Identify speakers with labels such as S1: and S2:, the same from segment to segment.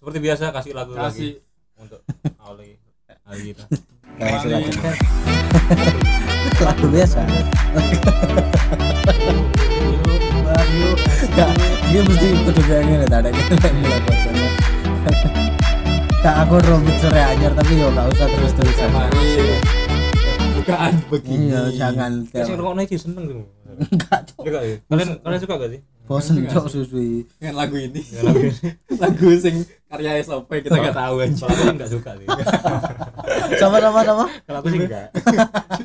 S1: seperti biasa kasih lagu
S2: kasih
S1: lagi untuk Auli Auli kita
S2: Mari.
S3: Kayak silakan. Lagu biasa. Gak, dia mesti kudu kayak gini tak ada gini melakukannya. Kak aku robot sore anyar tapi yo gak usah Iya, terus terusan.
S2: mari bukaan begini
S3: Iya jangan
S1: Kasih
S3: tiap-
S1: rokok itu seneng tuh
S3: enggak tuh.
S1: Suka ya? kalian kalian suka gak sih
S3: Bosen cok susui.
S2: dengan lagu ini
S1: Dengan lagu ini?
S2: lagu sing karya SOP kita nggak tahu aja
S1: Kalau aku sih nggak suka sih
S3: Sama sama sama.
S1: kalau aku sih enggak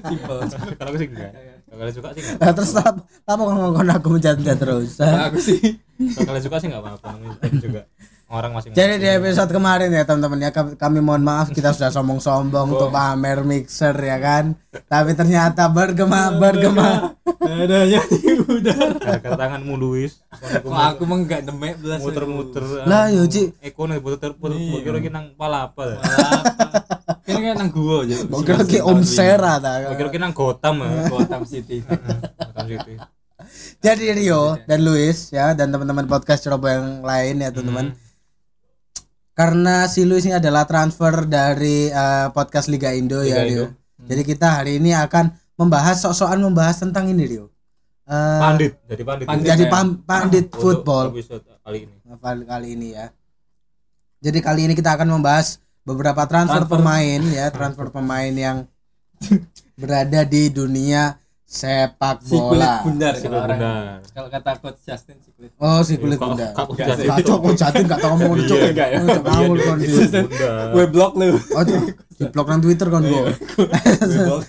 S2: simple
S1: kalau aku sih enggak kalau kalian suka sih enggak
S3: Nah, terus apa? Kamu ngomong aku menjanda terus.
S2: Nah, aku sih
S1: kalau kalian suka sih enggak apa-apa namanya juga orang masing-masing
S3: Jadi di episode kemarin ya teman-teman ya kami- kami mohon maaf kita sudah sombong-sombong untuk pamer mixer ya kan. Tapi ternyata bergema bergema.
S2: adanya di udara
S1: gara-gara tanganmu Luis
S2: Kok aku mah nggak demek belas
S1: muter-muter
S3: Lah iya, yo Ci,
S1: Eko nih puter puter kira kira nang palapa
S2: ini kan nang gua aja
S3: kok kira ki Om Sera ta.
S1: kira kira nang Gotham ya
S3: Iya.
S2: Gotham City
S1: Gotham City
S3: Jadi Rio dan Luis ya dan teman-teman podcast Surabaya yang lain ya teman-teman.
S1: Hmm.
S3: Karena si Luis ini adalah transfer dari eh, podcast Liga Indo ya
S1: Liga
S3: Rio. Jadi kita hari ini akan membahas sok-sokan membahas tentang ini Rio. Eh,
S1: Pandit jadi Pandit
S2: Pandit.
S3: jadi
S2: ya.
S3: pam- pandit
S1: Untuk
S3: football.
S1: episode kali ini
S3: kali, kali ini ya. Jadi kali ini kita akan membahas beberapa transfer,
S2: Transfer.
S3: pemain ya, transfer pemain yang berada di dunia sepak
S2: si kulit
S3: bola.
S2: bundar
S1: Si
S2: kalau
S1: kulit
S2: orang
S1: bundar.
S2: kalau kata coach Justin si kulit
S3: Oh, si kulit
S1: Kak-
S3: bundar.
S1: Kak
S3: Kacau,
S1: Ujasi.
S3: kok jatin gak tau ngomong cok.
S2: Iya, enggak ya?
S3: Cok, ngawur kon
S1: Iya,
S3: dia.
S1: jadi bundar.
S2: gue blok lu
S3: Oh, cok, di blok nang Twitter kon
S2: Iya.
S3: gua.
S2: gue blok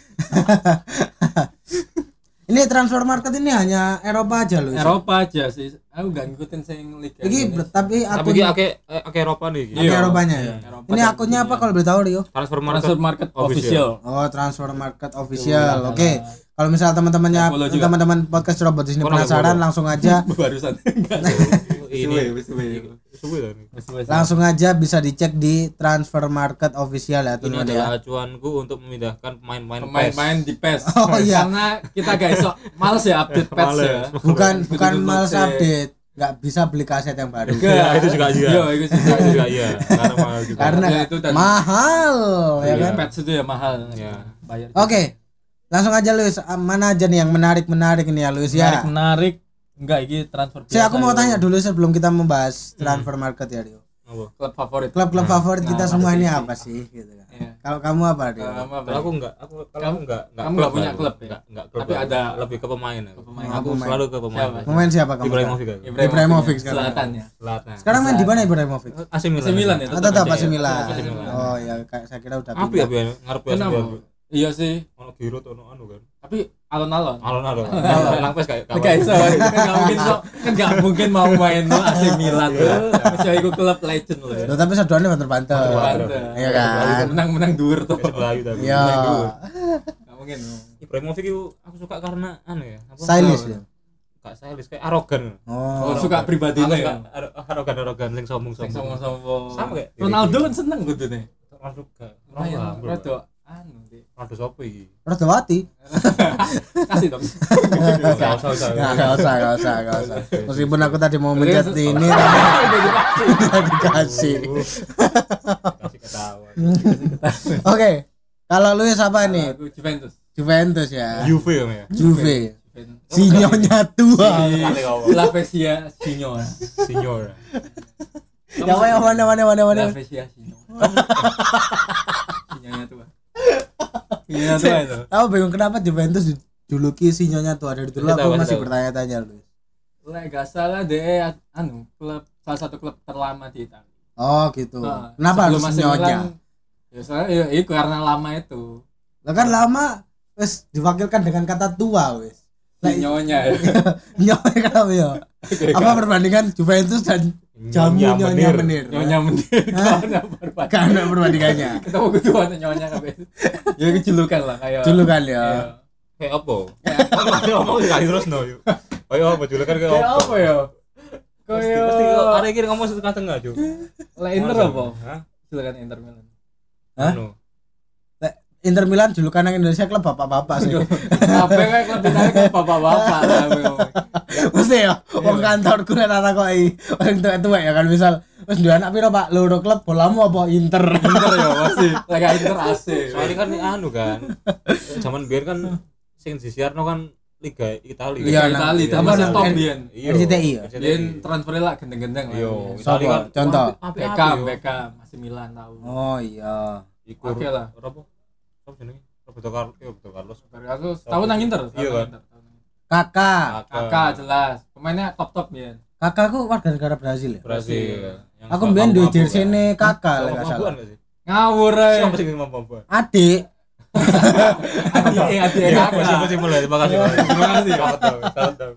S3: Ini transfer market ini hanya Eropa aja loh.
S2: Eropa Iya, aja sih aku nggak ngikutin sing liga
S3: Ini ber-
S1: tapi
S3: tapi akun
S1: dia ake ake Eropa nih gitu.
S3: akun
S2: Iya.
S3: Eropanya ya.
S2: Eropa
S3: Ini
S2: dan
S3: akunnya apa
S2: dunia.
S3: kalau boleh tahu Rio?
S1: transfer market
S2: transfer market official
S3: Oh, transfer market official. Oke.
S2: Nah.
S3: Kalau misal teman-temannya
S2: Iya, Follow juga.
S3: teman-teman podcast robot di sini
S1: Follow,
S3: penasaran
S1: follow.
S3: langsung aja
S2: barusan enggak
S1: ini
S2: Wes, wes, wes.
S1: suwe lah ini.
S2: Wes, wes.
S3: langsung aja bisa dicek di transfer market official ya
S1: ini
S3: teman ya.
S1: adalah acuanku untuk memindahkan pemain-pemain
S2: main-main di PES
S3: Oh, iya.
S2: karena kita gak esok males ya update PES
S1: Males.
S2: ya
S3: Bukan
S2: Betul-betul
S3: bukan males
S2: cek.
S3: update, nggak bisa beli kaset yang baru.
S1: Ya, itu juga iya.
S2: Iya, itu juga
S1: Itu juga iya karena mahal juga.
S3: Karena
S2: Ya, itu dan-
S3: mahal ya
S1: Iya.
S3: kan.
S2: PES itu ya mahal
S1: Iya.
S2: bayar
S3: Oke. ya. Langsung aja Luis, Ah, mana aja nih yang menarik-menarik ini ya Luis
S2: menarik
S3: ya.
S2: menarik enggak ini transfer
S3: Saya aku
S2: biasa,
S3: mau
S2: ya.
S3: tanya dulu sebelum kita membahas transfer market ya Rio.
S1: Apa?
S2: klub favorit
S3: Klub-klub favorit
S2: nah,
S3: kita
S2: apa
S3: semua
S2: sih? Nah,
S3: ini apa sih gitu kan.
S2: Iya.
S3: Kalau kamu apa Rio?
S2: Kamu apa?
S1: Kalau aku enggak, aku kalau
S2: Kamu-
S1: aku enggak, enggak
S2: kamu enggak
S1: klub
S2: punya
S1: aku.
S2: klub ya?
S1: Enggak, enggak klub.
S2: Tapi
S1: aku.
S2: ada-
S1: lebih ke pemain. aku.
S2: Ke pemain.
S1: Aku
S3: Pemain.
S1: selalu ke pemain.
S2: Siapa? Iya,
S3: Pemain siapa kamu?
S1: Ibrahimovic aku.
S3: Ibrahimovic sekarang.
S2: selatan ya
S1: Selatan.
S3: Sekarang main di mana Ibrahimovic?
S1: AC
S2: AC Milan ya,
S3: Oh, tetap
S2: aja
S3: AC
S2: ya.
S3: Milan.
S2: Tetap AC Milan.
S3: Oh ya, kayak saya kira udah
S1: Apa ya
S3: pindah.
S1: biar ngarep ya.
S2: Kenapa? iya sih
S1: Ono Giroud ono anu kan.
S2: tapi alon-alon
S1: Alon-alon.
S2: Alon.
S1: Lang pes kayak kawan.
S2: Enggak iso, enggak mungkin so, kan enggak mungkin mau main lo AC Milan lo. Masih iku klub legend lo. ya.
S3: Loh, tapi seduhannya banter-banter.
S2: Mantap.
S3: Iya kan?
S2: Menang-menang dur
S1: Kayak
S2: tuh.
S1: gitu. sebelayu tapi.
S3: Iya.
S2: Enggak mungkin. lo.
S1: Ibrahimovic itu aku suka karena anu ya. Apa?
S3: Stylish ya.
S1: Enggak stylish kayak arogan.
S2: Oh,
S3: Oh.
S2: suka pribadi
S1: Aku
S2: lo
S1: suka
S2: ya.
S1: aro- arogan-arogan sing
S2: Sing
S1: sombong-sombong.
S2: sombong-sombong.
S1: Sama kayak-
S2: Ronaldo kan seneng gue tuh nih.
S1: Ronaldo enggak.
S2: Lumayan,
S1: Ronaldo.
S2: Rodo anu deh.
S1: Ronaldo sopo iki?
S2: Oh.
S3: Rodowati.
S2: Kasih dong.
S1: Enggak usah usah.
S3: Nggak, nggak usah, nggak usah, nggak usah. Meskipun aku tadi mau mencet ini tapi
S2: Udah dipaksa.
S3: udah dikasih.
S1: Kasih ketawa.
S3: Oke. Kalau lu apa nih?
S2: Aku Juventus.
S3: Juventus ya.
S1: Juve kan ya.
S3: Juve.
S2: Juventus.
S3: Sinyonya tua.
S2: La Vesia Signora.
S1: Signor.
S3: Ya mana mana mana mana mana.
S2: La Vesia Signora. Sinyonya tua. Sinyonya tua itu.
S3: Aku bingung kenapa Juventus dijuluki sinyonya tua dari dulu
S1: Nggak tahu,
S3: aku
S1: nggak
S3: masih
S1: tahu.
S3: bertanya-tanya lu.
S2: Lah gak salah deh anu klub salah satu klub terlama di Italia.
S3: Oh gitu.
S2: Nah,
S3: Kenapa harus
S2: sebelum AC
S3: sinyonya?
S2: Milan, Ya soalnya ya, itu karena lama itu.
S3: Lah kan lama wis diwakilkan dengan kata tua wis. Lah,
S2: Sinyonya. ya.
S3: Nyonya kenapa ya? Apa perbandingan Juventus dan jamu
S1: Nyonya
S3: nyonya
S1: Menir.
S3: menir?
S2: Nyonya mendir karena berpacu.
S3: Gak ada perbandingannya.
S2: Ketemu kedua nyonya kabeh. Ya itu julukan lah kayak.
S3: Dulu kan ya.
S2: Iya.
S1: Kayak apa? Kayak apa? Kayak terus no yuk. Oh iya apa julukan kayak
S2: Kayak
S1: apa?
S2: apa ya?
S1: Mesti
S2: Kayak
S1: mesti kalau ada kira ngomong setengah tengah jo.
S2: lah Inter apa?
S1: Hah?
S2: Julukan Inter Milan.
S3: Hah?
S1: Anu.
S3: Lah, Inter Milan julukan yang Indonesia klub bapak-bapak sih.
S2: Apa kayak klub Italia kayak bapak-bapak lah. apa yang ngomong.
S3: Iya. Mesti ya, wong kantor gue rata kok i. Orang tua tua ya kan misal Wis duwe anak piro, Pak? Loro klub bolamu apa Inter?
S2: Inter ya pasti. Lagi Inter AC.
S1: Soalnya kan anu kan. Zaman biar kan sing disiarno kan Liga Italia.
S3: Iya,
S2: Liga Itali,
S1: Liga
S2: tambah
S1: Itali.
S2: nang top biyen.
S1: Iya.
S3: RCTI ya?
S1: RCTI.
S2: Biyen transfernya lah gendeng-gendeng lah.
S1: Iya, Itali
S3: Sopo?
S1: kan
S3: Contoh.
S2: Beckham,
S1: Beckham, Beckham.
S2: Beckham masih Milan tahu.
S3: Oh iya.
S1: Iku
S2: Oke lah.
S1: Robo. Robo jenenge? Roberto Carlos, eh, Roberto Carlos.
S2: Aku tahu nang Inter. tahu
S1: Iya, Ah. kan?
S2: nang Inter, tahu nang Inter.
S3: Kakak.
S2: Kakak jelas. Pemainnya top-top biyen.
S3: Kakakku warga negara Brazil ya.
S1: Brazil. Yang
S3: Aku
S1: suka
S3: mbien duwe
S1: mabuk-mabukan.
S3: jersey ne kakak
S1: Suka
S3: lek gak
S1: mabuk-mabukan
S3: salah.
S1: gak sih?
S2: Ngawur eh. ae.
S1: Siapa sih yang mabuk-mabukan?
S3: Adik. Iya,
S2: Adik, adik
S1: Ya,
S2: kakak.
S1: masih masih mulai. Terima kasih. Pak. Terima kasih. Selamat tahu. Selamat tahu.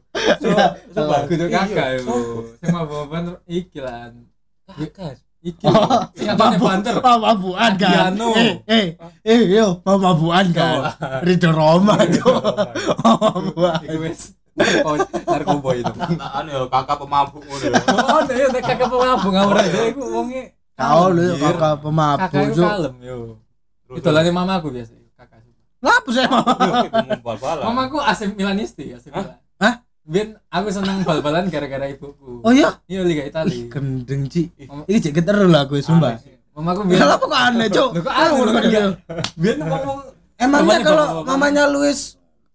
S1: Coba.
S2: Kudu kakak
S1: Iya.
S2: ibu. Sama bapak iki lah.
S1: Kakak.
S2: Iki.
S3: Iya,
S2: Siapa banter?
S3: Mau mabuan kan?
S2: Adriano.
S3: Eh, eh, eh, yo, mau mabuan kan? Ridho Roma tuh. Mau mabuan.
S2: Iku wis. narko- Narkoba itu.
S1: Anu ya kakak pemabuk ngono ya.
S2: Oh, ya nek kakak pengabung ngawur aja iku wonge.
S3: Kau lu
S2: Anjir.
S3: kakak pemabuk.
S2: Kakak itu
S3: Cuk.
S2: kalem yo. Idolane mamaku biasa kakak.
S3: Lah, apa saya mau?
S1: bal-balan.
S2: Mamaku AC Milanisti, AC Milan.
S3: Hah?
S2: Biyen aku seneng bal-balan gara-gara ibuku.
S3: Oh iya.
S2: Iya Liga
S3: Ih,
S2: Itali.
S3: gendeng Ci. Ini cek geter lah gue sumpah. Iya.
S2: Mamaku biyen
S3: Kenapa kok aneh, Cuk?
S2: Loh, kok aneh?
S3: Aduh, udah gede.
S2: biyen ngomong
S3: Emangnya
S2: Bapaknya
S3: kalau
S2: bapak-bapak.
S3: mamanya Luis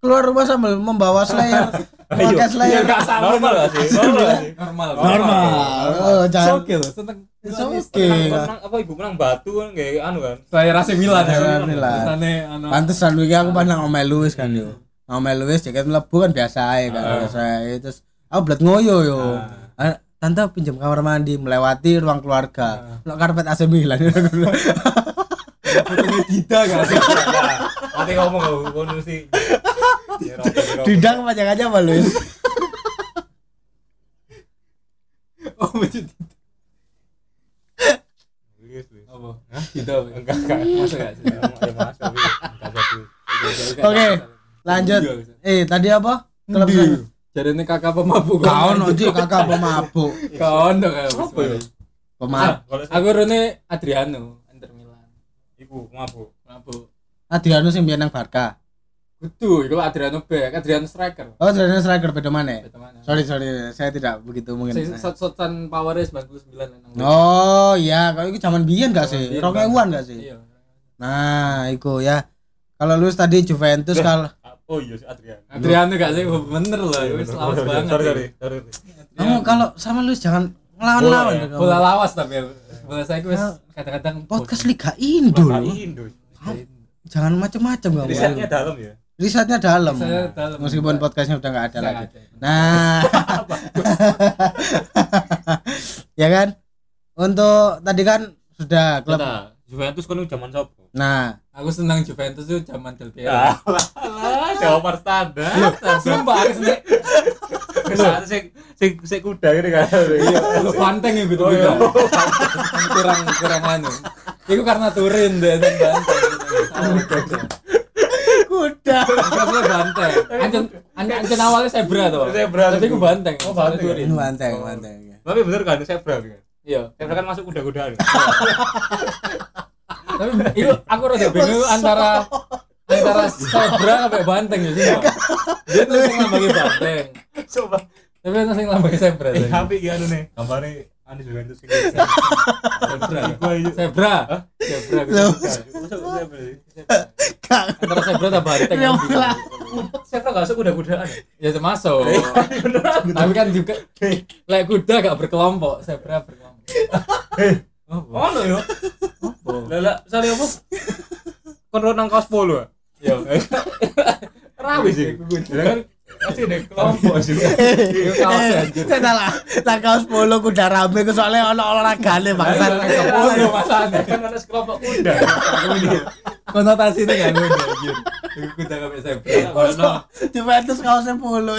S3: keluar rumah sambil membawa slayer,
S1: Iya.
S3: pakai
S2: Iya,
S3: slayer
S2: gak sama.
S1: Normal gak sih? Normal gak sih?
S2: normal.
S3: normal. Oh, jangan.
S2: Oke loh, seneng.
S3: It's
S2: Milanisti.
S3: okay.
S1: Menang- menang- apa ibu menang batu kan kayak anu kan.
S2: Saya rasa Milan ya.
S3: Saya Milan.
S2: Sana ana.
S3: Pantes lalu iki aku pandang Omel Luis kan yo. Omel Luis jaket mlebu kan biasa ae kan
S1: Ah.
S3: biasa ae. Terus aku blet ngoyo yo. Ah, Tante pinjam kamar mandi melewati ruang
S2: Ah.
S3: keluarga. Lo karpet AC Milan.
S2: Fotonya Dida gak sih?
S1: Nanti ngomong aku ngono sih. Iya,
S3: Didang panjang aja Pak Luis.
S2: Oh, macam Dida.
S1: Iya,
S2: Apa? Dida. apa?
S1: Enggak enggak.
S2: Masuk gak sih?
S1: Ya masuk. Enggak jadi.
S3: Oke, lanjut. Eh, tadi apa? Klub sana.
S2: Jadi ini kakak pemabuk.
S3: Kau noji kakak pemabuk.
S2: Kau no kau.
S1: Apa ya?
S3: Pemabuk.
S1: Kalau saya-
S2: Aku rene Adriano Inter Milan.
S1: ibu mabuk.
S2: Mabuk.
S3: Adriano anu sing biyen nang Barca.
S2: Kudu iku Adriano back, Adriano striker.
S3: Oh, Adriano striker beda mana?
S2: Beda mana?
S3: Sorry, sorry, saya tidak begitu mungkin.
S2: Sing shot-shotan powernya 99 nang.
S3: Oh iya, kalau itu zaman biyen gak sih?
S2: Zaman biyen,
S3: Rong an gak sih?
S2: Iya.
S3: Nah, iku ya. Kalau lu tadi Juventus kalau
S1: Ah, Oh iya si Adrian.
S2: Adriano gak sih bener lah, wis lawas banget.
S1: Sorry
S2: ya.
S1: sorry. sorry.
S3: kamu kan- kalau sama lu jangan
S1: Bola
S3: ngelawan-lawan.
S1: ya,
S3: dong.
S2: Bola lawas tapi ya. bola saya wis kadang-kadang Iya.
S3: Podcast Liga Indo
S1: Masa
S3: lu.
S1: Indo.
S3: Jangan macem-macem kamu.
S1: Risetnya dalam ya.
S3: Risetnya dalam.
S2: Risetnya dalam.
S3: Meskipun podcastnya udah nggak ada
S2: Nggak
S3: lagi.
S2: ada.
S3: Nah, ya kan? Untuk tadi kan sudah klub.
S1: Kata Juventus kan itu zaman sopo?
S3: Nah,
S2: Aku senang Juventus tuh zaman Del Piero.
S1: Alah, alah, jawaban Ya, standar.
S2: Sumpah aku seneng
S1: Kesan sing sing sing kuda ini kan. Iya.
S2: lu banteng ya gitu
S1: Oh, iya.
S2: kurang kurang anu. Itu karena turin deh yang banteng. Salah, goblok.
S3: kuda.
S2: Gobloknya banteng. Ancen an- ancen awalnya zebra tuh.
S1: Zebra.
S2: Tapi aku banteng.
S1: Oh, banteng ya?
S2: Turin.
S3: Manteng, manteng.
S1: Tapi bener kan zebra kan.
S2: Iya.
S1: Zebra kan masuk kuda-kudaan.
S2: Tapi itu aku rada bingung antara antara zebra sampai banteng ya sumpah. Dia tuh yang lambangi banteng.
S1: Coba.
S2: Tapi itu yang lambangi zebra.
S1: Eh,
S2: tuh.
S1: tapi iya anu nih, gambarnya anu Juventus ini.
S2: Zebra.
S1: Iku aja.
S2: Zebra. Zebra. aku suka.
S1: Masuk zebra.
S3: Kak,
S2: Antara zebra sama banteng.
S3: Iya, bola.
S1: Zebra gak masuk kuda-kudaan.
S2: Ya termasuk. Tapi kan juga lek kuda gak berkelompok, zebra berkelompok. Apa?
S1: Oh no yo.
S2: Apa?
S1: Lala, sale apa? Kon nang kaos polo.
S2: Yo.
S1: Rawi ya? sih. Lah kan pasti ada kelompok sih.
S2: Yo kaos ya, anjir.
S3: Saya salah. Lah kaos polo kuda rame ku soalnya ono olahragane
S2: Bangsa
S3: bangsat.
S2: bodoh masane.
S1: Kan ada kelompok kuda.
S2: Konotasi ini kan gue anjir. Iku Kuda gak bisa
S1: Ono.
S3: Juventus kaosnya polo.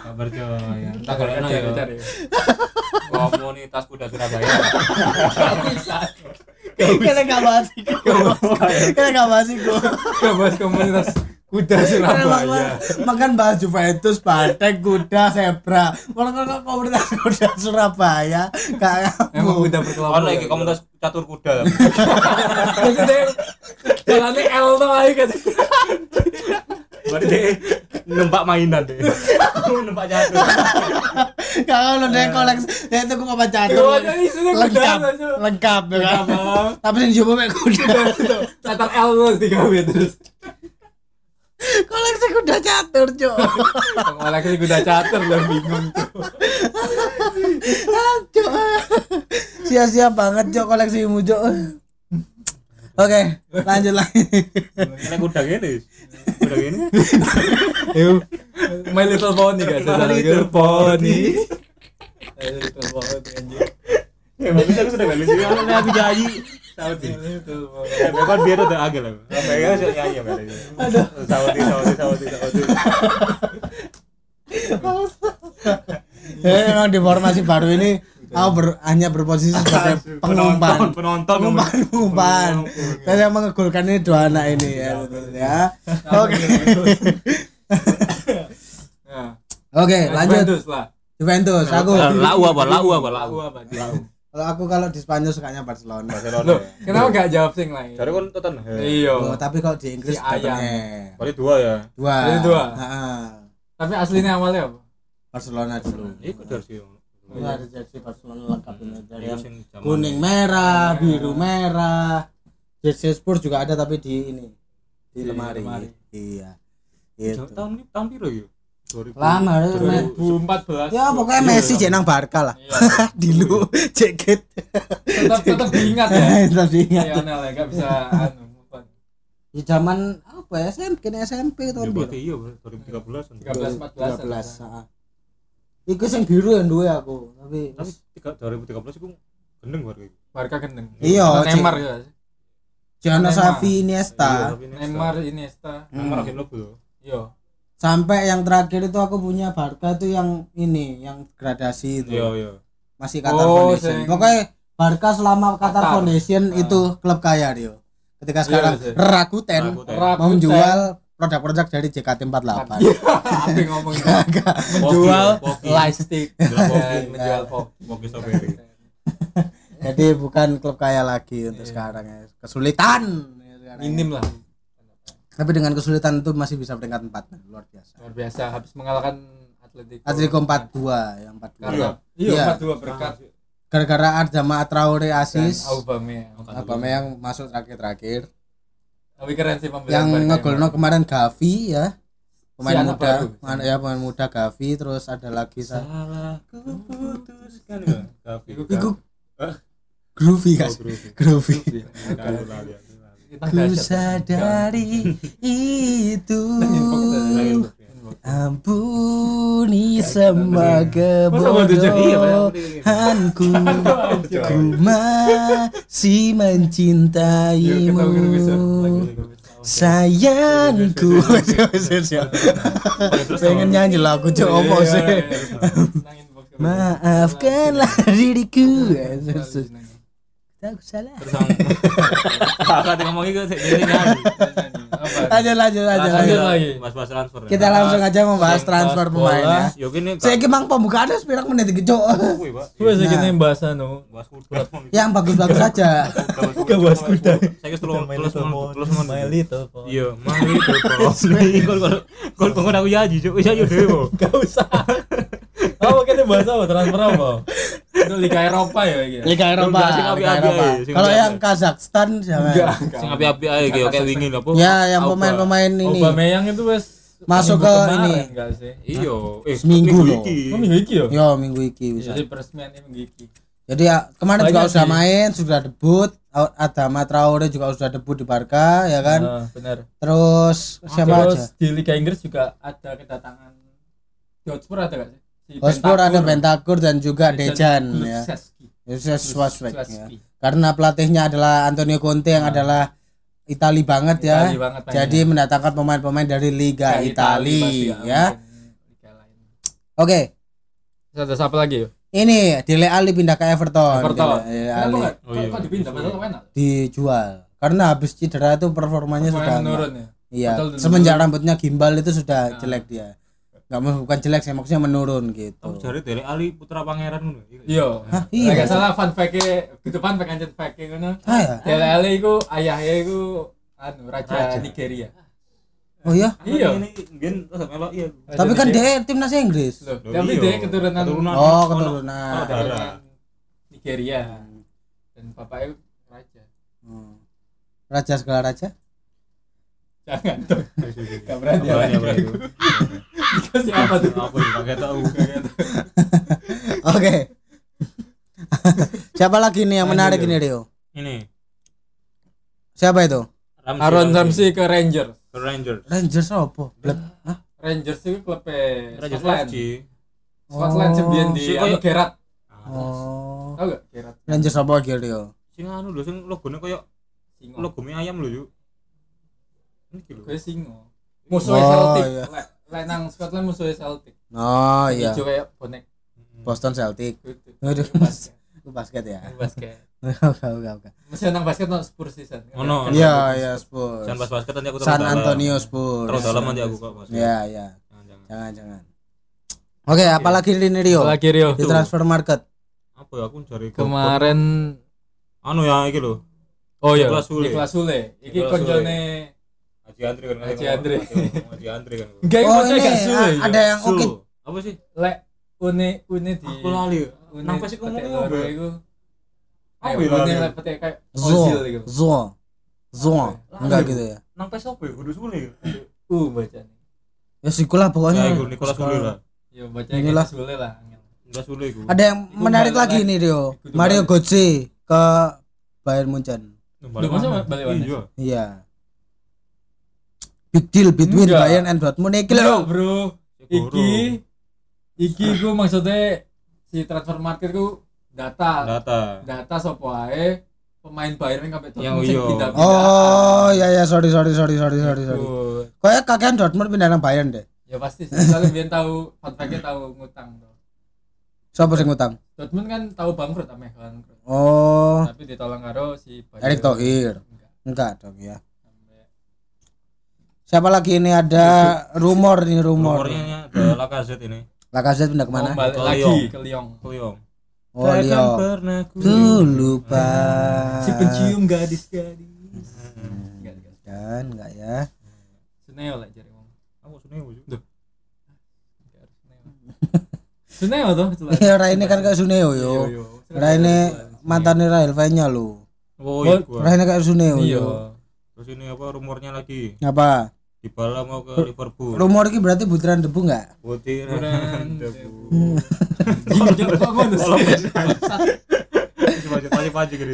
S1: Kabar coy. Entah kalau enak ya.
S2: Cari-cari.
S1: Komunitas kuda Surabaya.
S2: Gak bisa.
S3: Kene gak bahas iku. Kene gak bahas iku.
S2: Gak bahas komunitas kuda
S3: Kene
S2: Surabaya.
S3: makan- Makan bahas Juventus, Bantek, kuda, zebra. Orang kan komunitas kuda Surabaya. Gak
S2: Emang
S3: kamu.
S2: kuda berkelompok.
S1: Ono iki komunitas catur kuda.
S2: Maksudnya, Jalannya L tuh aja kan.
S1: Berarti numpak mainan deh numpak jatuh
S3: Kalau lo deh koleks, ya itu gue mau baca
S2: Itu aja isinya kuda
S3: Lengkap,
S2: aja.
S3: lengkap ya kan.
S2: Apa?
S3: Tapi yang coba kayak kuda.
S2: Catar L terus digawe terus.
S3: Koleksi kuda catur, Cok.
S2: Malah kayak kuda catur lah bingung tuh.
S3: Ah, Cok. Sia-sia banget, Cok, koleksimu, Cok. Oke, lanjut lagi.
S1: karena kuda gini kuda gini
S2: Yuk. My little pony guys. My little pony. My little pony anjir.
S1: ya bagus aku sudah balik sih kalau aku jayi Saudi
S2: My little pony.
S1: ya kan biar udah agak lah sampai kan sih nyanyi ya berarti. Saudi Saudi Saudi Saudi
S3: Ya, memang di formasi baru ini aku ber- hanya berposisi sebagai pengumpan.
S1: penonton
S3: Pengumpan, pengumpan. Dan yang mengegulkan ini dua anak ini ya, betul ya. Oke.
S2: Nah,
S3: Oke, lanjut.
S2: Juventus lah.
S3: Juventus, aku.
S1: lau apa lau apa lau
S2: Aku apa?
S3: Kalau aku kalau di Spanyol sukanya Barcelona.
S1: Barcelona
S2: Loh, kenapa gak jawab sing lain?
S1: dari kan Tottenham
S3: Oh,
S2: Iya.
S3: tapi kalau di Inggris
S2: Si ayam.
S3: Tottenham.
S1: kali dua ya
S3: Dua.
S2: Jadi dua.
S3: Heeh.
S2: Tapi aslinya awalnya apa?
S3: Barcelona dulu.
S1: ini kuda sih
S3: Dulu ada jersey Barcelona lengkap ini.
S1: Iya.
S3: Dari yang
S1: kuning
S3: Iya. kuning merah, biru merah. Jersey Spurs juga ada tapi di ini di, lemari.
S2: lemari.
S3: Iya. Itu.
S1: tahun ini tahun biru ya? yuk 2000.
S3: Lama ya,
S1: Dulu.
S3: Matt.
S2: 2014.
S3: Ya pokoknya Messi cek nang Barca lah.
S2: Iya.
S3: Dilu ceket.
S2: Tetap tetap diingat ya.
S3: Iya, Tapi ingat.
S2: Lionel ya gak bisa anu move on.
S3: Di zaman apa ya? SMP, kena SMP
S1: Iya,
S3: tahun biru.
S1: berarti iya bro 2013 kan.
S2: 13 14.
S3: 13, heeh. ah. Iku sing biru yang duwe aku, tapi
S1: tapi tiga 2013 itu gendeng warga itu
S2: Barca gendeng.
S3: Iya,
S2: Atau
S3: Cik.
S2: Neymar ya.
S3: Gianna
S2: Neymar.
S3: Xavi Iniesta Hmm.
S2: Neymar Iniesta.
S1: Iya, Neymar akhir lo bro
S2: Yo.
S3: sampai yang terakhir itu aku punya Barca itu yang ini, yang gradasi itu.
S1: iya iya
S3: Masih Qatar
S2: Oh,
S3: Foundation.
S2: sing-
S3: Pokoknya Barca selama Qatar,
S2: Qatar.
S3: Foundation
S2: Ah.
S3: itu klub kaya Rio. Ketika sekarang
S2: sih.
S3: Rakuten,
S1: Rakuten.
S3: mau menjual produk-produk dari JKT48.
S2: Iya, Tapi ngomong menjual
S1: Menjual
S2: light stick
S1: Menjual kopi.
S2: dan menjual pop.
S1: Mogi Strawberry
S3: Iya. Jadi bukan klub kaya lagi untuk sekarang ya. Kesulitan. ya sekarang ya.
S2: Iya. Minim lah.
S3: Tapi dengan kesulitan itu masih bisa peringkat 4 luar biasa.
S2: Luar biasa habis mengalahkan Atletico.
S3: Atletico 42 yang 42.
S2: Karena iya
S3: Iya.
S2: 42 berkat
S3: Gara-gara Arjama Traore
S2: dan
S3: asis.
S2: Aubameyang.
S3: Aubameyang yang masuk terakhir-terakhir.
S2: Tapi keren sih pembelian
S3: Yang
S2: Barca
S3: ngegolno kemarin Gavi ya. Pemain
S2: anak
S3: muda,
S2: baru.
S3: mana ya pemain muda Gavi terus ada lagi sa-
S1: salah kuputuskan ya tapi
S2: Iku-
S3: Iku Groovy guys. Groovy.
S2: Kita
S3: Ku
S2: dahsyat. Iya,
S3: sadari itu.
S1: Iya,
S3: Ampuni semua
S2: Iya,
S3: kebodohanku Ku masih
S2: Yuk, Iya, kita mungkin bisa.
S3: mencintaimu
S2: Lagi- Iya,
S3: Sayangku Pengen nyanyi lagu cok opo
S2: Iya,
S3: sih
S2: iya, iya. Nangin box.
S3: Maafkanlah diriku Aku salah
S1: kakak dia ngomongin gue jadi nyanyi
S2: Apa?
S3: Lanjut lanjut lanjut
S2: Lanjut
S3: lanjut.
S2: lagi.
S1: mas mas transfer ya.
S3: Kita langsung aja membahas transfer pemain ya
S1: yuk ini
S3: Saya emang pembukaannya sepirang menit iki cok
S1: Wih, Pak. Iya.
S2: Gue sih gini bahas anu.
S1: Bahas kuda.
S3: Yang bagus-bagus aja
S1: Gak bahas kuda. Saya terus terus terus
S4: Smiley tuh.
S1: Iya, mari Kol kol kol pengen aku yaji, cuk. Wis ayo dewe.
S4: Gak usah. Apa kita bahas apa transfer apa?
S2: Itu Liga Eropa ya iki.
S3: Liga Eropa,
S1: Enggak, sing
S3: Liga
S1: api-api
S3: Eropa.
S1: aja, sing
S3: Kalau
S1: api-api.
S3: yang Kazakhstan siapa?
S2: Enggak.
S1: Sing api-api ae kayak kayak wingi lho, apa?
S3: Ya, yang pemain-pemain ini.
S2: Aubameyang itu wes
S3: Masuk
S2: minggu
S3: ke
S2: kemarin
S3: ini.
S2: enggak sih? ya?
S1: Iya, eh
S3: Seminggu loh.
S1: iki.
S4: Ini iki yo.
S3: Yo minggu iki bisa.
S2: Iya, Jadi peresmian ini minggu iki.
S3: Jadi ya, kemarin
S4: Banyak
S3: juga sudah
S4: sih.
S3: main, sudah debut. Au- Adama Traore juga sudah debut di Barca ya kan.
S2: Ah,
S4: Nah, benar.
S3: Terus siapa aja?
S4: Terus di Liga Inggris juga
S2: Ada kedatangan Hotspur ada enggak sih? Si
S3: Hotspur ada
S2: Bentakur.
S3: Bentakur dan juga Dejan ya.
S2: Kulusevski.
S3: Yusuf Suaswek ya.
S2: Kulusevski.
S3: Karena pelatihnya adalah Antonio Conte yang adalah Itali banget ya.
S2: Itali banget mainnya.
S3: Jadi mendatangkan pemain-pemain dari
S2: Kayak
S3: Liga
S2: Itali pasti
S3: Itali
S2: nggak
S3: ya.
S2: mungkin Liga lain.
S3: Oke,
S2: Terus ada siapa lagi ya? yuk?
S3: Ini Dele Ali pindah ke Everton.
S2: Everton.
S3: Dele- Dele
S2: Kenapa
S3: Alli
S2: enggak?
S1: Oh, iya.
S2: Kok dipindah padahal kemana?
S3: Iya, dijual karena habis cedera itu performanya
S2: Pemain
S3: sudah
S2: menurun ya.
S3: iya
S2: Padahal udah
S3: semenjak rambutnya gimbal itu
S2: Nah.
S3: sudah jelek dia nggak mau- bukan jelek sih maksudnya menurun
S1: Aku
S3: gitu
S1: jare dari Ali Putra Pangeran ngono.
S2: Oh. Iya.
S3: Hah, iya.
S2: Iya. Gak salah Iya. fun fact-e, gitu fun fact anjen fact-e ngono.
S3: ah ya
S2: Dele Alli iku ayahnya iku anu raja,
S1: Raja.
S2: Nigeria.
S3: Oh iya.
S2: Iya.
S1: Ini gen terus melok iya.
S3: Tapi kan dia timnas Inggris.
S2: Loh,
S1: Loh,
S2: tapi
S1: iya.
S2: dia keturunan
S1: Keturunan.
S3: Oh,
S1: Ono- ono
S3: keturunan.
S1: darah.
S2: Nigeria dan bapaknya raja.
S3: Hmm. Raja segala raja.
S2: Jangan dong. Gak berani.
S1: Apaan ya, bro, itu?
S2: Kasih apa tuh?
S1: Apa tuh? Kagak tahu, kagak tahu.
S3: Oke. Siapa lagi nih yang menarik ini Rio?
S1: Ini
S3: Siapa itu?
S1: Ramsey,
S2: Aaron
S1: Ramsey.
S2: Ramsey ke Rangers.
S1: Ke Rangers.
S3: Rangers apa? Blep. Hah?
S2: Rangers itu klub
S1: Rangers
S2: Scotland.
S1: FC.
S2: Scotland
S3: Oh.
S2: sebien di
S1: Suka-
S2: anu Gerrard.
S1: Ah,
S3: Oh.
S2: Tahu gak Gerrard?
S3: Rangers apa lagi Rio?
S1: Sing anu lho sing logone koyo
S2: Singo.
S1: logo mie ayam lho yuk. Niki lho.
S2: Gue singo. Musuhnya
S3: Oh,
S2: Celtic.
S3: iya.
S2: Lek lek nang Scotland musuhnya Celtic.
S3: Oh iya.
S2: Hijau kayak bonek
S3: Boston Celtic.
S2: gitu.
S3: Waduh.
S2: Basket.
S3: Itu basket ya.
S2: Basket.
S3: Oke oke oke.
S2: Masih nang basket nang Spurs season.
S1: Ono.
S3: Iya iya Spurs.
S1: Jangan bahas Hmm. basket nanti aku
S3: San
S1: terlalu dalam.
S3: Antonio Spurs.
S1: Terlalu dalam nanti aku kok, Mas.
S3: Iya iya.
S1: Jangan, jangan.
S3: Jangan jangan. Oke, apalagi ini Rio?
S2: Lagi Rio.
S3: Di transfer market.
S1: Apa ya aku cari
S2: Kemarin
S1: anu ya iki lho.
S2: oh iya.
S1: Nicolas Sule.
S2: Nicolas Sule.
S1: Nicolas
S2: Iki
S1: Sule.
S2: konjone
S1: Haji Andri kan.
S2: Haji Andri.
S1: Haji Andri kan.
S2: Enggak
S3: Oh,
S2: konjone
S3: ini
S2: gak Sule.
S3: a- ada yang
S1: Su.
S3: oke.
S1: Apa sih?
S2: lek une une di
S1: Aku lali.
S2: une
S1: Napa sih kamu
S2: petik
S1: ngomong,
S2: loro
S1: Bro?
S2: iku.
S1: Apa
S2: Kayak
S1: ya,
S2: une
S1: lali?
S2: lek petik kayak
S3: Zo.
S2: Ozil iku.
S3: Zo. Zo. Enggak gitu ya.
S1: Nang pes apa ya? Kudu Sule.
S2: Uh bacane.
S3: Ya sikulah
S1: Ya
S3: pokoknya.
S1: iku Nicolas Sule lah.
S2: Ya bacanya
S3: Inilah.
S2: kayak Sule lah. angel.
S1: Nicolas Sule iku.
S3: Ada yang
S2: Itu
S3: menarik
S2: balik
S3: lagi
S2: lagi.
S3: nih Rio.
S2: Itu
S3: Mario
S2: balik.
S3: Götze ke Bayern Munchen.
S1: Balik
S2: Lu masa
S1: mana?
S2: balik mana?
S1: Iya.
S3: Iya. Big deal between
S2: Enggak.
S3: Bayern and Dortmund iki
S2: Gila,
S3: lho.
S2: Bro.
S1: Goro.
S2: Iki iki ku maksudnya si transfer market ku data
S1: Data.
S2: data sopo ae pemain Bayern yang sampai
S1: Yang
S2: sing
S1: iya.
S2: pindah-pindah.
S3: Oh, ya ya sorry sorry sorry sorry sorry sorry.
S1: Gitu.
S2: Tuh.
S3: Kayak kakek Dortmund pindah nang Bayern deh.
S2: Ya pasti sih, soalnya biyen tahu fun fact-nya tahu ngutang tuh.
S3: Siapa sing ngutang?
S2: Dortmund kan tahu bangkrut ameh kan.
S3: Oh,
S2: Tapi ditolong karo si Bayern.
S3: Erick Thohir.
S2: Enggak.
S3: Enggak dong ya.
S2: Sampai-
S3: Siapa lagi ini ada rumor nih rumor.
S1: Nomornya ini ada Lacazette ini.
S3: Lacazette pindah kemana? Eh.
S2: Mau balik
S1: Ke
S2: lagi
S1: Lyon.
S2: ke Lyon.
S1: Kuyong.
S3: Oh,
S1: Takkan
S3: Leo.
S1: kan pernah ku
S3: Tuh lupa.
S2: Ah. Si pencium gadis-gadis. Enggak, enggak.
S3: Dan enggak ya.
S2: Suneo lah jari wong.
S1: Aku seneng Bu.
S2: Enggak harus Suneo. Suneo Iya, tuh. celah.
S3: Ya Rai ini kan kayak Suneo yo.
S2: yo.
S3: Rai ini mantannya Rail Vanya lu.
S1: Oh,
S2: Oh,
S1: iya. gua.
S3: Rai ini kayak Suneo
S2: Iya.
S3: yo.
S1: Terus ini apa rumornya lagi?
S3: Apa?
S1: Dibala mau ke Liverpool.
S3: Rumor ini berarti butiran debu enggak?
S1: Butiran
S2: Buran
S1: debu.
S2: Iya, jangan kok ngono sih.
S1: Coba coba aja gini.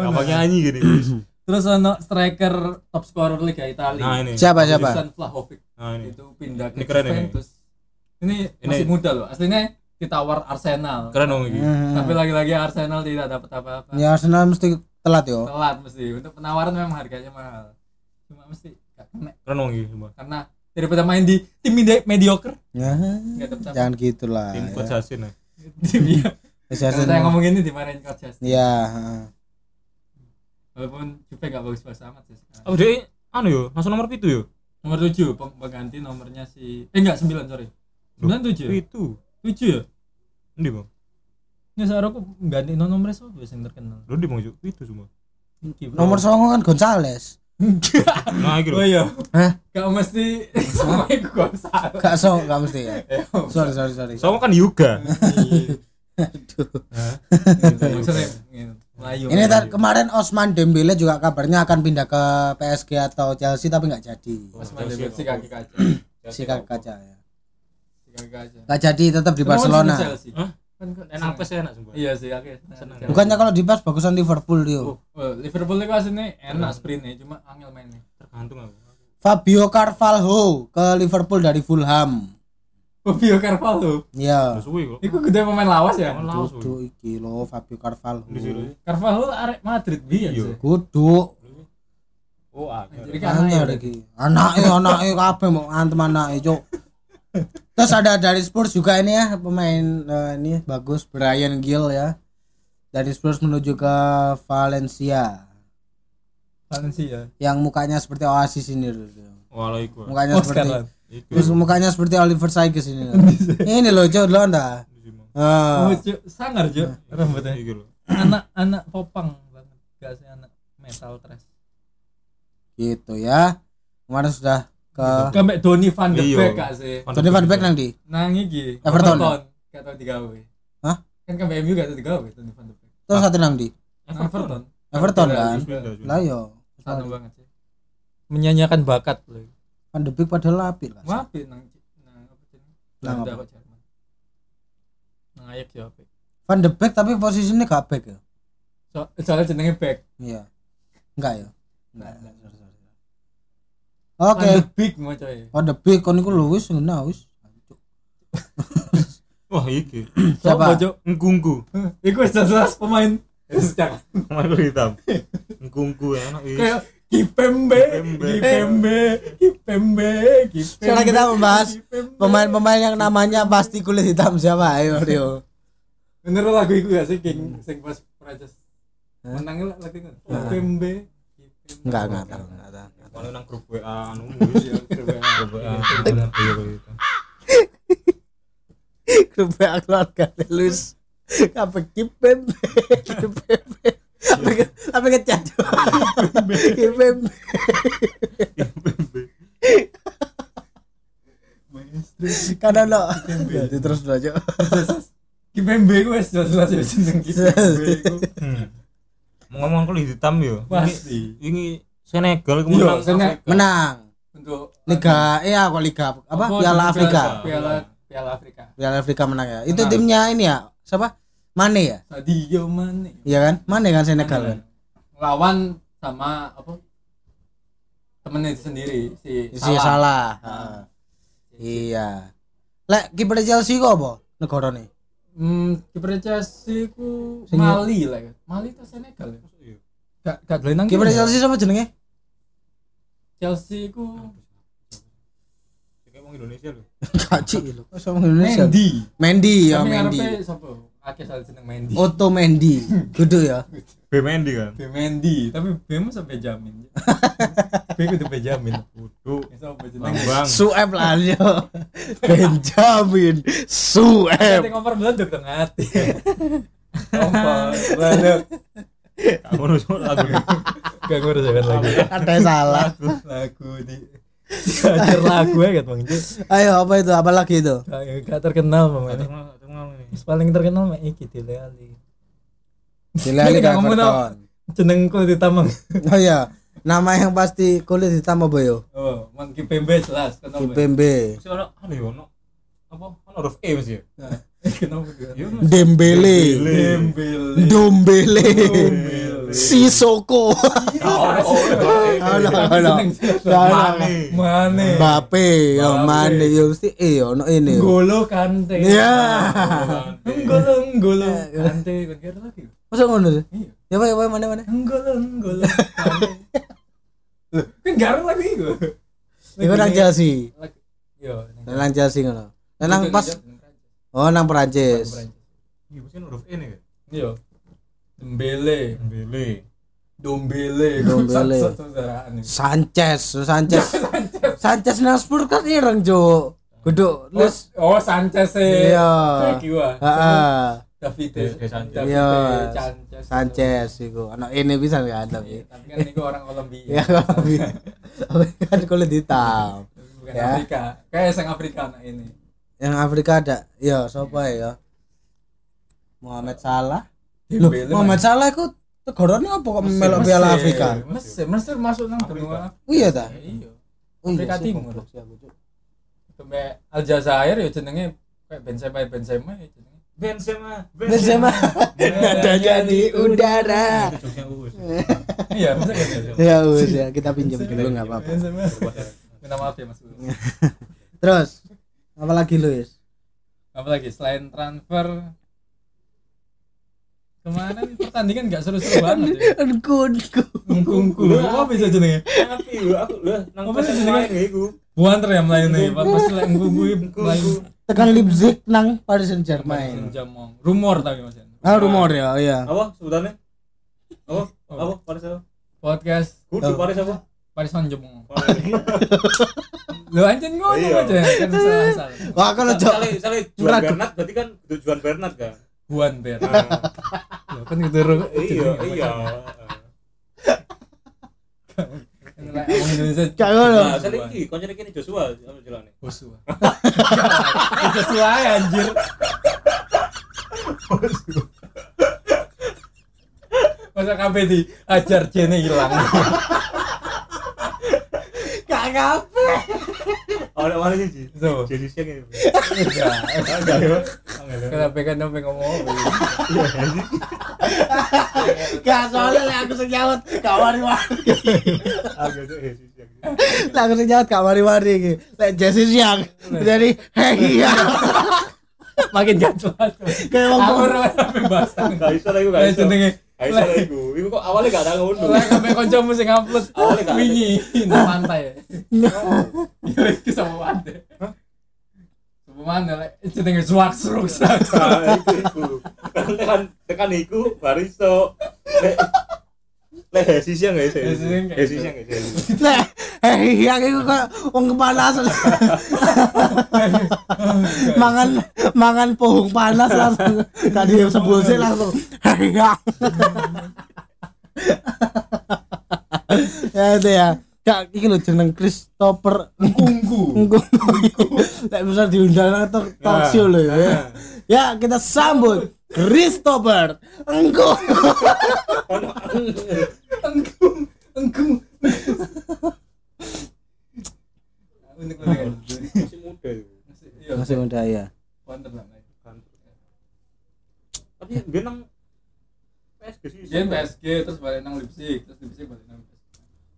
S1: Apanya nyanyi gini. Gus.
S2: Terus ono striker top scorer Liga Italia.
S1: Nah, ini.
S3: Siapa siapa?
S2: Dusan Vlahovic
S1: Nah, ini.
S2: itu pindah ke
S1: Ini keren ini.
S2: Juventus. Ini,
S1: Ini-
S2: masih muda loh. Aslinya ditawar Arsenal.
S1: Keren dong ini.
S3: Hmm.
S2: Tapi lagi-lagi Arsenal tidak dapat apa-apa.
S3: Ya Arsenal mesti telat yo.
S2: telat mesti untuk penawaran memang harganya mahal cuma mesti gak kena
S1: Keren dong ini semua.
S2: karena daripada main di tim medi- mediocre
S3: Ya.
S2: nggak dapat apa
S3: Jangan gitulah.
S1: Tim Coach Hasin ya.
S2: tim
S3: Iya.
S2: ya
S3: Coach
S2: karena
S3: Hasan.
S2: saya ngomong ini dimarahin coach Justin
S3: Ya. heeh.
S2: walaupun Juve gak bagus bagus amat sih sekarang
S1: Oh, dia anu yo, langsung nomor pitu yo.
S2: nomor tujuh peng- pengganti nomornya si eh enggak sembilan sorry sembilan tujuh ya?
S1: Pitu.
S2: tujuh ya
S1: Ini Bang.
S2: ini sekarang aku ganti nomornya siapa biasa yang terkenal
S1: Lu di Bang Ju, pitu semua.
S2: Iki, bro.
S3: Nomor songo kan Gonzales.
S1: Nah, iki lho.
S2: oh iya
S3: Hah?
S2: gak mesti sama aku gak salah
S3: Gak songo gak mesti ya.
S2: Ya,
S3: Sorry sorry sorry.
S1: Sama kan Yuga.
S2: Iya.
S1: Hah?
S2: Gitu, maksudnya gitu. Melayu
S3: Ini tar- kemarin Osman Dembele juga kabarnya akan pindah ke PSG atau Chelsea tapi nggak jadi.
S2: Mas Mandi bersih kaki kaca
S3: Si kakak kaca ya.
S2: Si kaki kaca
S3: Nggak jadi tetap di
S2: Kenapa
S3: Barcelona.
S2: seneng Chelsea?
S1: Hah?
S2: Kan kok
S1: Enak
S2: seneng?
S1: pes enak semua.
S2: Iya sih, aku seneng.
S1: Seneng.
S2: Chelsea.
S3: Bukannya kalau di Bas bagusan Liverpool dia.
S1: Oh.
S2: Oh, Liverpool itu aslinya enak sprintnya, cuma angel mainnya.
S1: Tergantung aku.
S3: Fabio Carvalho ke Liverpool dari Fulham.
S2: Fabio Oh, Carvalho,
S1: Terus
S3: Iya.
S1: suwi kok.
S2: itu gede pemain lawas ya.
S1: Lawan lawas suwi.
S3: Kudu iki lo Fabio Carvalho.
S1: Di situ.
S2: Carvalho arek Madrid biyen
S1: Iya.
S2: sih.
S3: Kudu
S1: Oh, anjir.
S2: Jadi kan
S3: anyar iki. Anake anake kabeh mau antem anake cuk. Terus ada dari Spurs juga ini ya pemain eh, ini bagus Brian Gill ya. Dari Spurs menuju ke Valencia.
S2: Valencia.
S3: yang mukanya seperti Oasis ini loh.
S1: Walau iku.
S3: Mukanya
S2: Oscar
S3: seperti
S2: lah.
S1: Iku.
S3: terus mukanya seperti Oliver Sykes ini. loh. ini loh, Cuk, lo anda.
S1: Di sini.
S3: Ah,
S2: Oh, Cuk, sangar Cuk
S3: Iya.
S2: rambutnya.
S1: Iki lho.
S2: Anak-anak popang banget, gak sih anak metal trash.
S3: gitu ya. Kemarin sudah ke
S2: Kamek Doni Van de
S1: Iya.
S2: Beek gak sih?
S3: Tony Van Beek nang di
S2: Nang iki
S3: Everton. ya?
S2: Gak tau digawe.
S3: Hah?
S2: Kan kamek MU gak tau digawe Doni Van de Beek.
S3: terus satu nang di
S2: Nang Everton.
S3: Everton kan
S1: Sudah, sudah.
S3: lah yo
S2: Satu banget sih.
S4: menyanyiakan bakat loh.
S3: Van de Beek padahal apik lah
S2: Wapi nang nang apa sih?
S3: Nang
S2: Belanda
S3: apa?
S2: kok Jerman. Nang Ajax ya Beek.
S3: Van de Beek tapi posisinya gak back ya
S2: So, soalnya jenenge Beek.
S3: iya enggak ya
S2: Nah,
S3: Enggak.
S2: nah,
S3: oke
S2: Kan Big mau coy.
S3: Van de Beek kon iku Luis ngena wis
S1: Wah, iki.
S3: Siapa?
S2: Cok.
S1: Ngkungku.
S2: Iku jelas pemain sejak
S1: Main kulit hitam. Ngkungku ya, enak.
S2: kayak Kipembe,
S1: Kipembe.
S2: Kipembe, Kipembe, Kipembe.
S3: Sekarang kita membahas
S2: Kipembe.
S3: pemain-pemain yang namanya pasti kulit hitam siapa ayo Rio
S2: Bener lagu iku gak sih King sing pas Prancis. Menangnya lagu itu. Kipembe. Kipembe.
S3: enggak enggak tahu enggak tahu
S1: Kalau nang grup WA anu wis
S3: Iya,
S1: ya grup WA. Grup WA. Bener, iya, kulit hitam.
S3: grup WA keluarga Luis apa kipem kipem apa ke- apa kecat kipem karena lo jadi terus lo aja
S2: Kipembe iku wis jelas-jelas ya jeneng Kipembe iku.
S3: Iya.
S1: Hmm. Mau ngomong kulit hitam yo.
S2: Pasti.
S1: Ini Senegal
S2: Iya,
S1: kemenang
S2: Senegal.
S1: Afrika.
S3: menang
S2: Untuk
S3: liga eh aku liga apa piala Afrika
S2: Piala Piala Afrika.
S3: piala Afrika menang ya itu
S2: Menang.
S3: timnya ini ya siapa Mane ya
S2: Sadio Mane.
S3: iya kan Mane kan Senegal kan
S2: Iya. Lawan sama apa? Temennya sendiri si
S3: si Iya, salah
S2: Ah.
S3: Heeh. iya lek kiper Chelsea kok apa negara nih
S2: Hmm, kiper Chelsea ku
S3: Sing-
S2: Mali lah. ya. Mali itu Senegal ya.
S1: Iya.
S2: Gak gak boleh nang
S3: kiper
S2: kene.
S3: Chelsea siapa jenenge
S2: Chelsea ku
S1: Kayak wong Indonesia lho.
S3: Kaci lu. Kok sama Oh, Indonesia?
S2: Mendy.
S3: Mendy ya
S2: Tapi
S3: Mendy.
S2: ngarepe sapa? Akeh soal jeneng Mendy.
S3: Otto Mendy. Gitu ya.
S1: B Mendy kan.
S2: B Mendy, tapi B mu sampai jamin. B ku sampai jamin.
S1: Iya, Kudu
S2: Sampai jeneng.
S1: Lambang.
S3: Sueb lah yo. Benjamin Sueb.
S2: Ting over belanduk dong hati. Over belanduk.
S1: Kamu harus lagu ini.
S2: Gak ngurus ya kan lagu.
S3: Ada salah.
S2: Lagu di Hajar lagu ya kan Bang Ji.
S3: Ayo apa itu? Apa lagi itu?
S2: Gak- Gak terkenal Bang.
S1: Gak terkenal, gak terkenal ini.
S2: Yang Paling terkenal mah iki Dele Ali.
S3: Dilali
S2: Nggak
S3: kan
S2: ngomong
S3: Everton.
S2: Jenengku di Tamang.
S3: Oh iya. Nama yang pasti kulit hitam apa yo?
S2: Oh, Mang Kipembe jelas kenapa?
S3: Kipembe,
S1: Mesti ono anu ya ono. Apa? Ono huruf E mesti ya.
S2: Nah, Kenapa dia?
S1: Ya, Mas.
S3: Dembele,
S2: Dembele.
S3: Dombele,
S2: Dembele.
S3: Sisoko, Ono, ono.
S1: Mane.
S2: Mane.
S3: Mbappe, yo
S2: Mbappe.
S3: Mane, yo mesti eh ono ini. yo.
S2: Golo Kante.
S3: Ya.
S2: Nggolo nggolo Kante kan kira lagi.
S3: Masa ngono sih?
S2: Iya.
S3: Ya apa ya apa, mana mana?
S2: Nggolo nggolo Kante. Loh, Kan garang lagi gue.
S3: Iku nang Chelsea.
S2: Yo. nang-
S3: Nang Chelsea ngono. Nang pas oh nang Perancis.
S1: Iya, mesti ono huruf E nih.
S2: Iya. Dembele,
S1: Bele.
S2: Dombele,
S3: Dombele.
S2: saudaraan ya.
S3: Sanchez, Sanchez. Sanchez nang Spurs kan ireng, Cuk.
S2: Oh,
S3: Guduk Luis.
S2: oh Sanchez eh.
S3: Iya.
S2: Kayak gua.
S3: Heeh.
S2: David
S1: David Sanchez.
S2: David
S3: Iya.
S2: Sanchez.
S3: Sanchez iku. Ono ini bisa
S2: Iya,
S3: ya tapi.
S2: Tapi kan ini orang Kolombia.
S3: Ya tapi. Tapi kan kulit hitam.
S2: Bukan
S3: Ya.
S2: Afrika. Kayak sang Afrika anak ini.
S3: Yang Afrika ada. Iya, sapa ya? Muhammad Salah. Loh,
S2: Dembele
S3: Muhammad
S2: masih-
S3: Salah iku tegorone apa kok
S2: Mesir,
S3: melok Piala
S2: Mesir.
S3: Afrika?
S2: Mesir, Mesir masuk nang benua.
S3: Oh iya ta?
S2: Ya, Iya.
S3: Oh iya,
S2: Afrika
S3: sih,
S2: Timur.
S3: goblok sih aku, Cuk.
S2: Sampai Aljazair ya jenenge kayak Benzema Benzema ya jenenge.
S1: Benzema.
S3: Benzema nadanya di udara.
S1: Itu jokesnya Uus.
S2: Iya, bener kan, Benzema.
S3: ya wes ya kita pinjam dulu nggak apa-apa
S2: Benzema. Minta maaf ya Mas.
S3: Iya.
S2: Bro.
S3: terus apalagi Luis
S2: apalagi selain transfer kemarin pertandingan gak seru-seru banget ya
S3: unkunku
S2: ngkungku apa bisa jenenge
S1: Tapi lu aku lu nang
S2: Apa
S1: pas
S2: sih
S1: main
S2: jenenge?
S1: iku.
S2: buanter ya melayani pas pas lek ngkungku lain
S3: tekan Leipzig nang Paris Saint Germain
S2: jamong rumor tapi mas Yan.
S3: ah rumor ya iya
S1: Apa sebutannya? Apa? Apa? Paris apa?
S2: Oh. podcast
S1: Kudu Paris apa?
S2: Paris Saint Germain
S1: Paris.
S2: lo anjing ngono
S1: Iya.
S2: aja kan salah salah
S3: wah aku lo cok
S1: Misalnya, misalnya Juan
S3: Ragu.
S1: Bernat berarti kan kudu Juan Bernat kan? Ah,
S2: buanter
S1: Nah,
S2: Loh, kan gitu ru
S1: iya, iya.
S2: Lek ngomongin Indonesia.
S3: Kayak ngono.
S1: Nah, saya lagi koncen iki Joshua sama jelane.
S2: Joshua.
S5: sesuai anjir
S2: Masa kabeh di ajar jene hilang.
S3: Gak ngapain.
S1: Oh, Ada mana sih? Ji?
S2: Sama.
S1: Jadi siang ini.
S2: Kenapa kenapa ngomong? ya?
S3: Gak soalnya lek aku sing nyaut gak wari-wari. Lek aku sing nyaut gak wari-wari iki. Lek Jesse siang dari hei ya.
S2: Makin jatuh.
S3: Kayak wong
S2: Aku ora sampe basang.
S1: Gak iso lagi, gak
S2: Kayak
S1: iso.
S2: jenenge.
S1: Gak iso lagi. Iku kok awalnya gak ada ngono.
S2: Lah kabeh kancamu sing upload
S1: Awalnya gak ada.
S2: wingi nang pantai. Ya iki sama pantai. Sama mana lek jenenge Zwak Sruk.
S1: Nah, iku, iku. Tekan tekan iku baru iso. Lek- Lek Hesi siang gak iso.
S2: Hesi siang gak
S1: Hesi
S2: iso.
S1: siang gak iso.
S3: lek hei ya iku kok wong kepanasan. mangan mangan pohon panas langsung. Tadi sebulse langsung hei ya. ya itu ya. Kak, iki lho jeneng Christopher
S2: Unggu.
S3: Engko tak bisa diundang atau talk show loh
S1: Nah.
S3: ya. Ya kita sambut Christopher Engko.
S2: Enggu. Enggu. Unik banget.
S1: Masih muda iku.
S2: Iya,
S3: Masih muda ya.
S2: wonder lah, Mike.
S1: Tapi dia nang PSG sih.
S2: Dia PSG terus balik nang Leipzig, terus Leipzig balik nang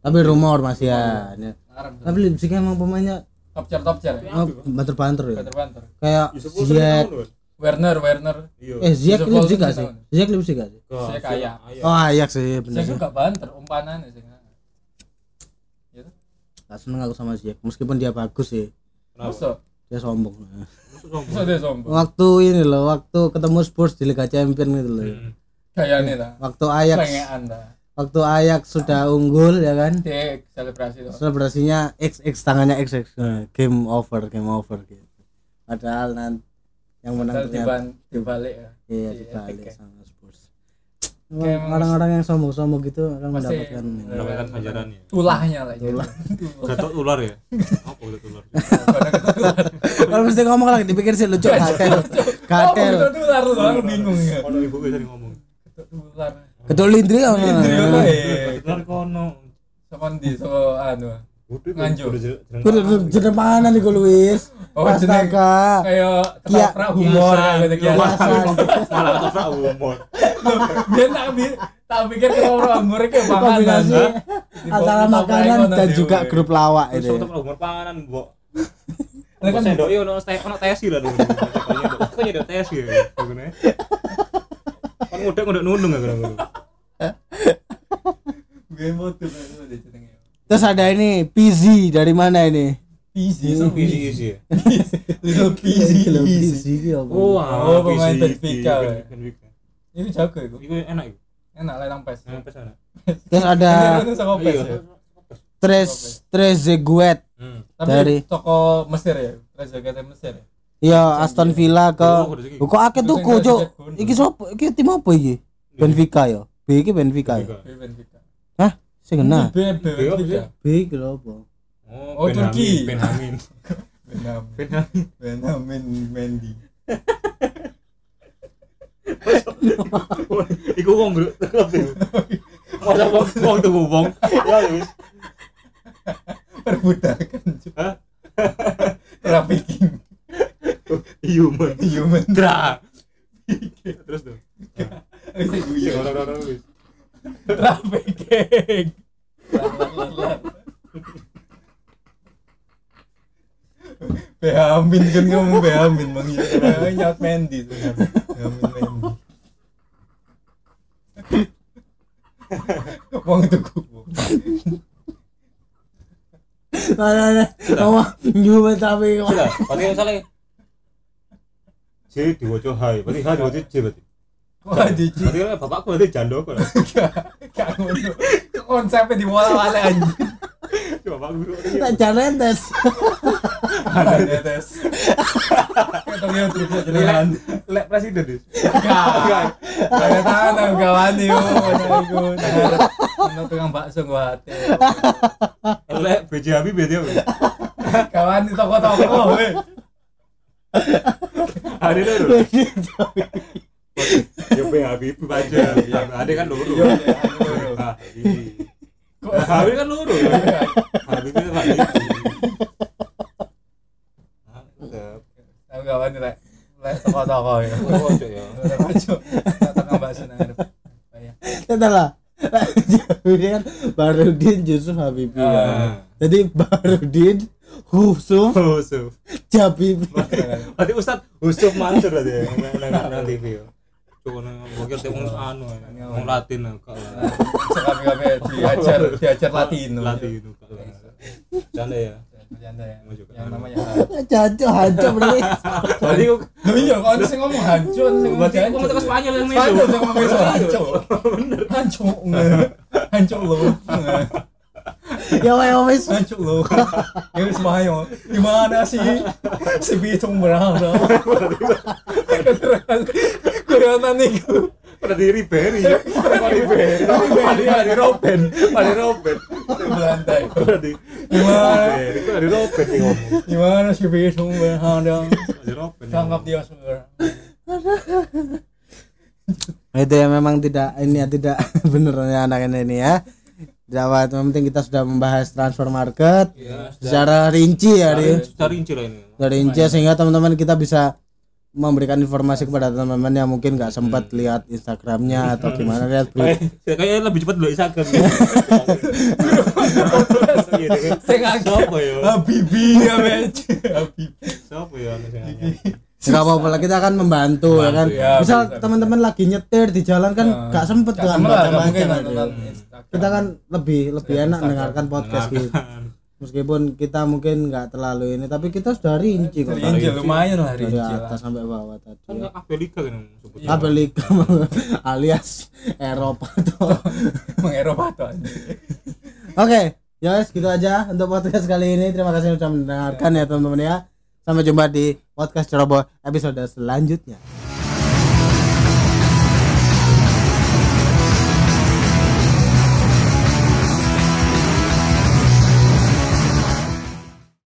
S3: Tapi rumor masih ya.
S2: Arab.
S3: Tapi Leipzig emang pemainnya
S2: Topcer topcer ya.
S3: oh, banter-banter ya.
S2: Banter-banter.
S3: Kayak
S1: Yusuf Wilson
S3: Ziyech.
S1: kan ngono, kan?
S2: Werner, Werner.
S1: Iya.
S3: Eh Ziyech
S2: Yusuf
S3: Leipzig
S2: Wilson
S3: gak
S2: sih
S3: sih?
S2: tahun.
S3: Ziyech Leipzig gak sih?
S1: Gak,
S2: kaya.
S1: ayo.
S3: Oh ayak sih bener
S2: Saya
S3: sih.
S2: juga banter, umpanan ya.
S3: Gak seneng aku sama Ziyech meskipun dia bagus sih.
S1: Kenapa?
S2: Masa?
S3: Dia sombong.
S1: Masuk sombong.
S2: Masa dia sombong?
S3: Waktu ini loh, waktu ketemu Spurs di Liga Champions gitu loh.
S1: Hmm.
S2: Kayaknya lah.
S3: Waktu Ajax,
S2: Pengean lah.
S3: waktu Ajax sudah unggul ya kan?
S2: Dia selebrasi tuh.
S3: selebrasinya XX tangannya XX Nah, game over game over gitu padahal nanti yang menang
S2: Terus
S3: ternyata
S2: diban- dibalik ya.
S3: iya
S2: di
S3: dibalik
S2: efek ya.
S3: sama Spurs
S2: Kayak emang-
S3: orang-orang yang sombong-sombong gitu orang
S2: Pasti-
S3: mendapatkan
S1: Mendapatkan ganjaran ya.
S2: Tulahnya lah gitu.
S1: Gatot ular ya. Apa gatot ular?
S3: kalau mesti ngomong lagi dipikir sih lucu gatel gatel
S2: Gatel. Tular lu, aku bingung ya.
S1: Ono ibu gue tadi ngomong.
S2: Tular.
S3: ketul lindri ya Mas.
S2: Eh,
S1: Ular kono.
S2: Sama di so
S3: Ah.
S2: anu.
S1: Bodoh,
S2: Nganjuk.
S1: bodoh, jeneng- jeneng
S3: Kudu- kudu jeneng mana nih gue Luis
S2: Oh, jeneng-
S3: astaga
S2: Kayak
S3: Kia-
S2: ketoprak humor
S1: kiasan,
S2: gitu kiasan.
S3: kiasan.
S1: malah ketoprak umur.
S2: Dia tak bi- tak pikir ketoprak humor kayak makanan.
S3: kombinasi
S2: ha? Dibawa
S3: Iya. antara
S2: ketoprak
S3: makanan
S2: kono
S3: dan
S2: dia,
S3: juga
S2: weh.
S3: grup lawak
S1: Terus
S3: itu
S1: ketoprak umur panan, Mbok.
S2: Lah
S1: Kan
S2: kan-
S1: sendok yo ono teh ono tesi lah. dulu. Kok nyedok tesi ya. Bagune. Kan ngudek ngudek nundung ya kira
S2: Gue mau tuh itu dia jenengnya.
S3: terus ada ini PZ dari mana ini
S2: Easy, so
S3: Iya,
S1: Easy
S2: easy.
S1: easy.
S2: Little busy,
S3: PZ
S2: easy.
S3: iki apa?
S2: Oh, pemain
S1: easy,
S2: Benfica,
S1: easy,
S2: ya.
S1: Benfica.
S3: iya.
S2: Ini jago ya, gue.
S1: Iku enak iku.
S2: Enak lah nang pes.
S3: Eh,
S1: Nang pes enak.
S3: terus ada
S2: Ini sama pes
S1: Iya.
S2: ya.
S3: Tres Trezeguet
S1: Hmm.
S2: Tapi
S3: Dari-
S2: toko Mesir ya. Rezeki Mesir ya.
S3: ya Aston Villa ke
S1: Iya,
S3: kok akeh tuku cuk iki sopo iki tim apa iki Benfica ya B iki Benfica ya
S1: Benfica.
S2: Gue Benfica.
S3: hah sing
S2: Ini
S3: kena
S2: B- B-
S1: Iya,
S2: Benfica.
S3: B iki lho apa
S1: Oh,
S2: Oh, Turki.
S1: Benhamin.
S2: Benhamin.
S1: Benhamin.
S2: Benhamin Mendy.
S1: Iku wong bro. Masa wong wong tuh wong. Ya wis.
S2: Perbudakan. Cuk.
S1: Hah?
S2: Trafficking.
S1: Human.
S2: Human
S1: Dra. Terus tuh.
S2: Bisa
S1: Iya,
S2: guyon.
S1: orang-orang wis.
S2: Trafficking. Lar, lar, lar, lar. Behamin kan kamu Behamin bang ya. Nyat Mendy tuh. Behamin Mendy. Wong itu kubu.
S3: mana ngomong Juve tapi kok.
S1: Lah, berarti misalnya C diwaca hai, berarti hai diwaca C berarti.
S2: Wah jijik.
S1: Berarti kan bapakku berarti jandoko lah.
S2: Gak ngono. Konsepnya di wala wala anjing.
S1: Bapakku bro.
S3: tak jalan tes
S2: Ada di atas. Ketemu terus aja dengan.
S1: Lek presiden dis.
S2: Gak. Gak tangan gak wani. yo. Tangan aku. Tangan
S6: Ono tukang bakso gua ate.
S1: Lek BJ Abi beda weh.
S2: kawan di toko-toko weh.
S1: Hari ini lho. Ya pengen Abi aja. Ada kan luru.
S2: Yo, ya, ada luru.
S1: Ah, iya.
S2: Kok
S1: Nah, Abi kan luru. Abi kan lagi.
S2: Tapi kawan di lek lek toko-toko ya. Pojok ya. Pojok. Tukang bakso nang ngarep. Oh, iya.
S3: Kita lah. Kemudian Barudin Yusuf Habibie. ya.
S1: Ah.
S3: Jadi Barudin Husuf
S1: Husuf.
S3: Jabibi.
S1: Berarti Ustaz Husuf Mansur berarti ya. Nang nang TV ya. Cuma nang bokil sih wong anu. ya. Wong Latin ya, Kak.
S2: Sekali-kali diajar diajar Latino.
S1: Latino Kak. Canda ya.
S2: Bercanda ya.
S1: Maju ke
S2: Yang
S1: kanan.
S2: namanya Han.
S3: Jancok hancok berarti.
S1: Berarti kok-
S2: Loh iya kok sing ngomong hancur sing ngomong
S1: berarti kok
S2: jancuk.
S1: ngomong Spanyol yang mesu.
S2: Spanyol sing ngomong iso hancur. Hancur. Hancur lo.
S3: Ya wae wis.
S2: Hancur lo. Ya wis mayo. Gimana sih? Si Bitung berharap. Kurang niku.
S1: Berarti Ribery. Ribery.
S2: Ribery.
S1: Berarti Robben. Berarti Robben.
S2: Belantai.
S1: Berarti
S2: Gimana?
S1: Ribery. Berarti Robben yang ngomong.
S2: Gimana si Bitung berharap?
S1: Berarti Robben. yang
S2: Tangkap
S1: ngomong.
S2: dia semua.
S3: Itu ya memang tidak ini ya tidak benernya anak ini ya. Dapat yang penting kita sudah membahas transfer market secara rinci ya, Rin.
S1: Secara rinci lah ini.
S3: dari Inca sehingga teman-teman kita bisa memberikan informasi kepada teman-teman yang mungkin nggak sempat lihat Instagramnya atau gimana lihat
S1: Nah.
S3: berita.
S1: Kayak- Eh, kayaknya lebih cepat dulu Instagram. Saya Siapa ya?
S2: Habibi ya, Bej. Habibi.
S1: Siapa ya?
S3: nggak apa-apa lah kita akan membantu ya kan
S2: ya,
S3: misal
S2: bisa,
S3: teman-teman lagi nyetir di jalan kan nggak sempet
S2: Gak
S3: kan
S2: semua lah,
S3: baca
S2: gak mungkin
S3: macam
S2: nonton Instagram.
S3: kita kan lebih lebih enak mendengarkan podcast gitu
S1: Kan
S3: meskipun kita mungkin nggak terlalu ini tapi kita sudah rinci kok
S2: Dari Injil lumayan lah
S3: dari
S2: Rinci lah.
S3: Iya, atas sampai bawah tadi
S1: Kan
S3: ya.
S1: kabel liga kan yang sebut.
S3: kabel liga alias Eropa tuh
S2: Mengeropa tuh anjing.
S3: Oke, ya wes gitu aja untuk podcast kali ini. Terima kasih sudah mendengarkan ya teman-teman ya. Sampai jumpa di podcast Ceroboh episode selanjutnya.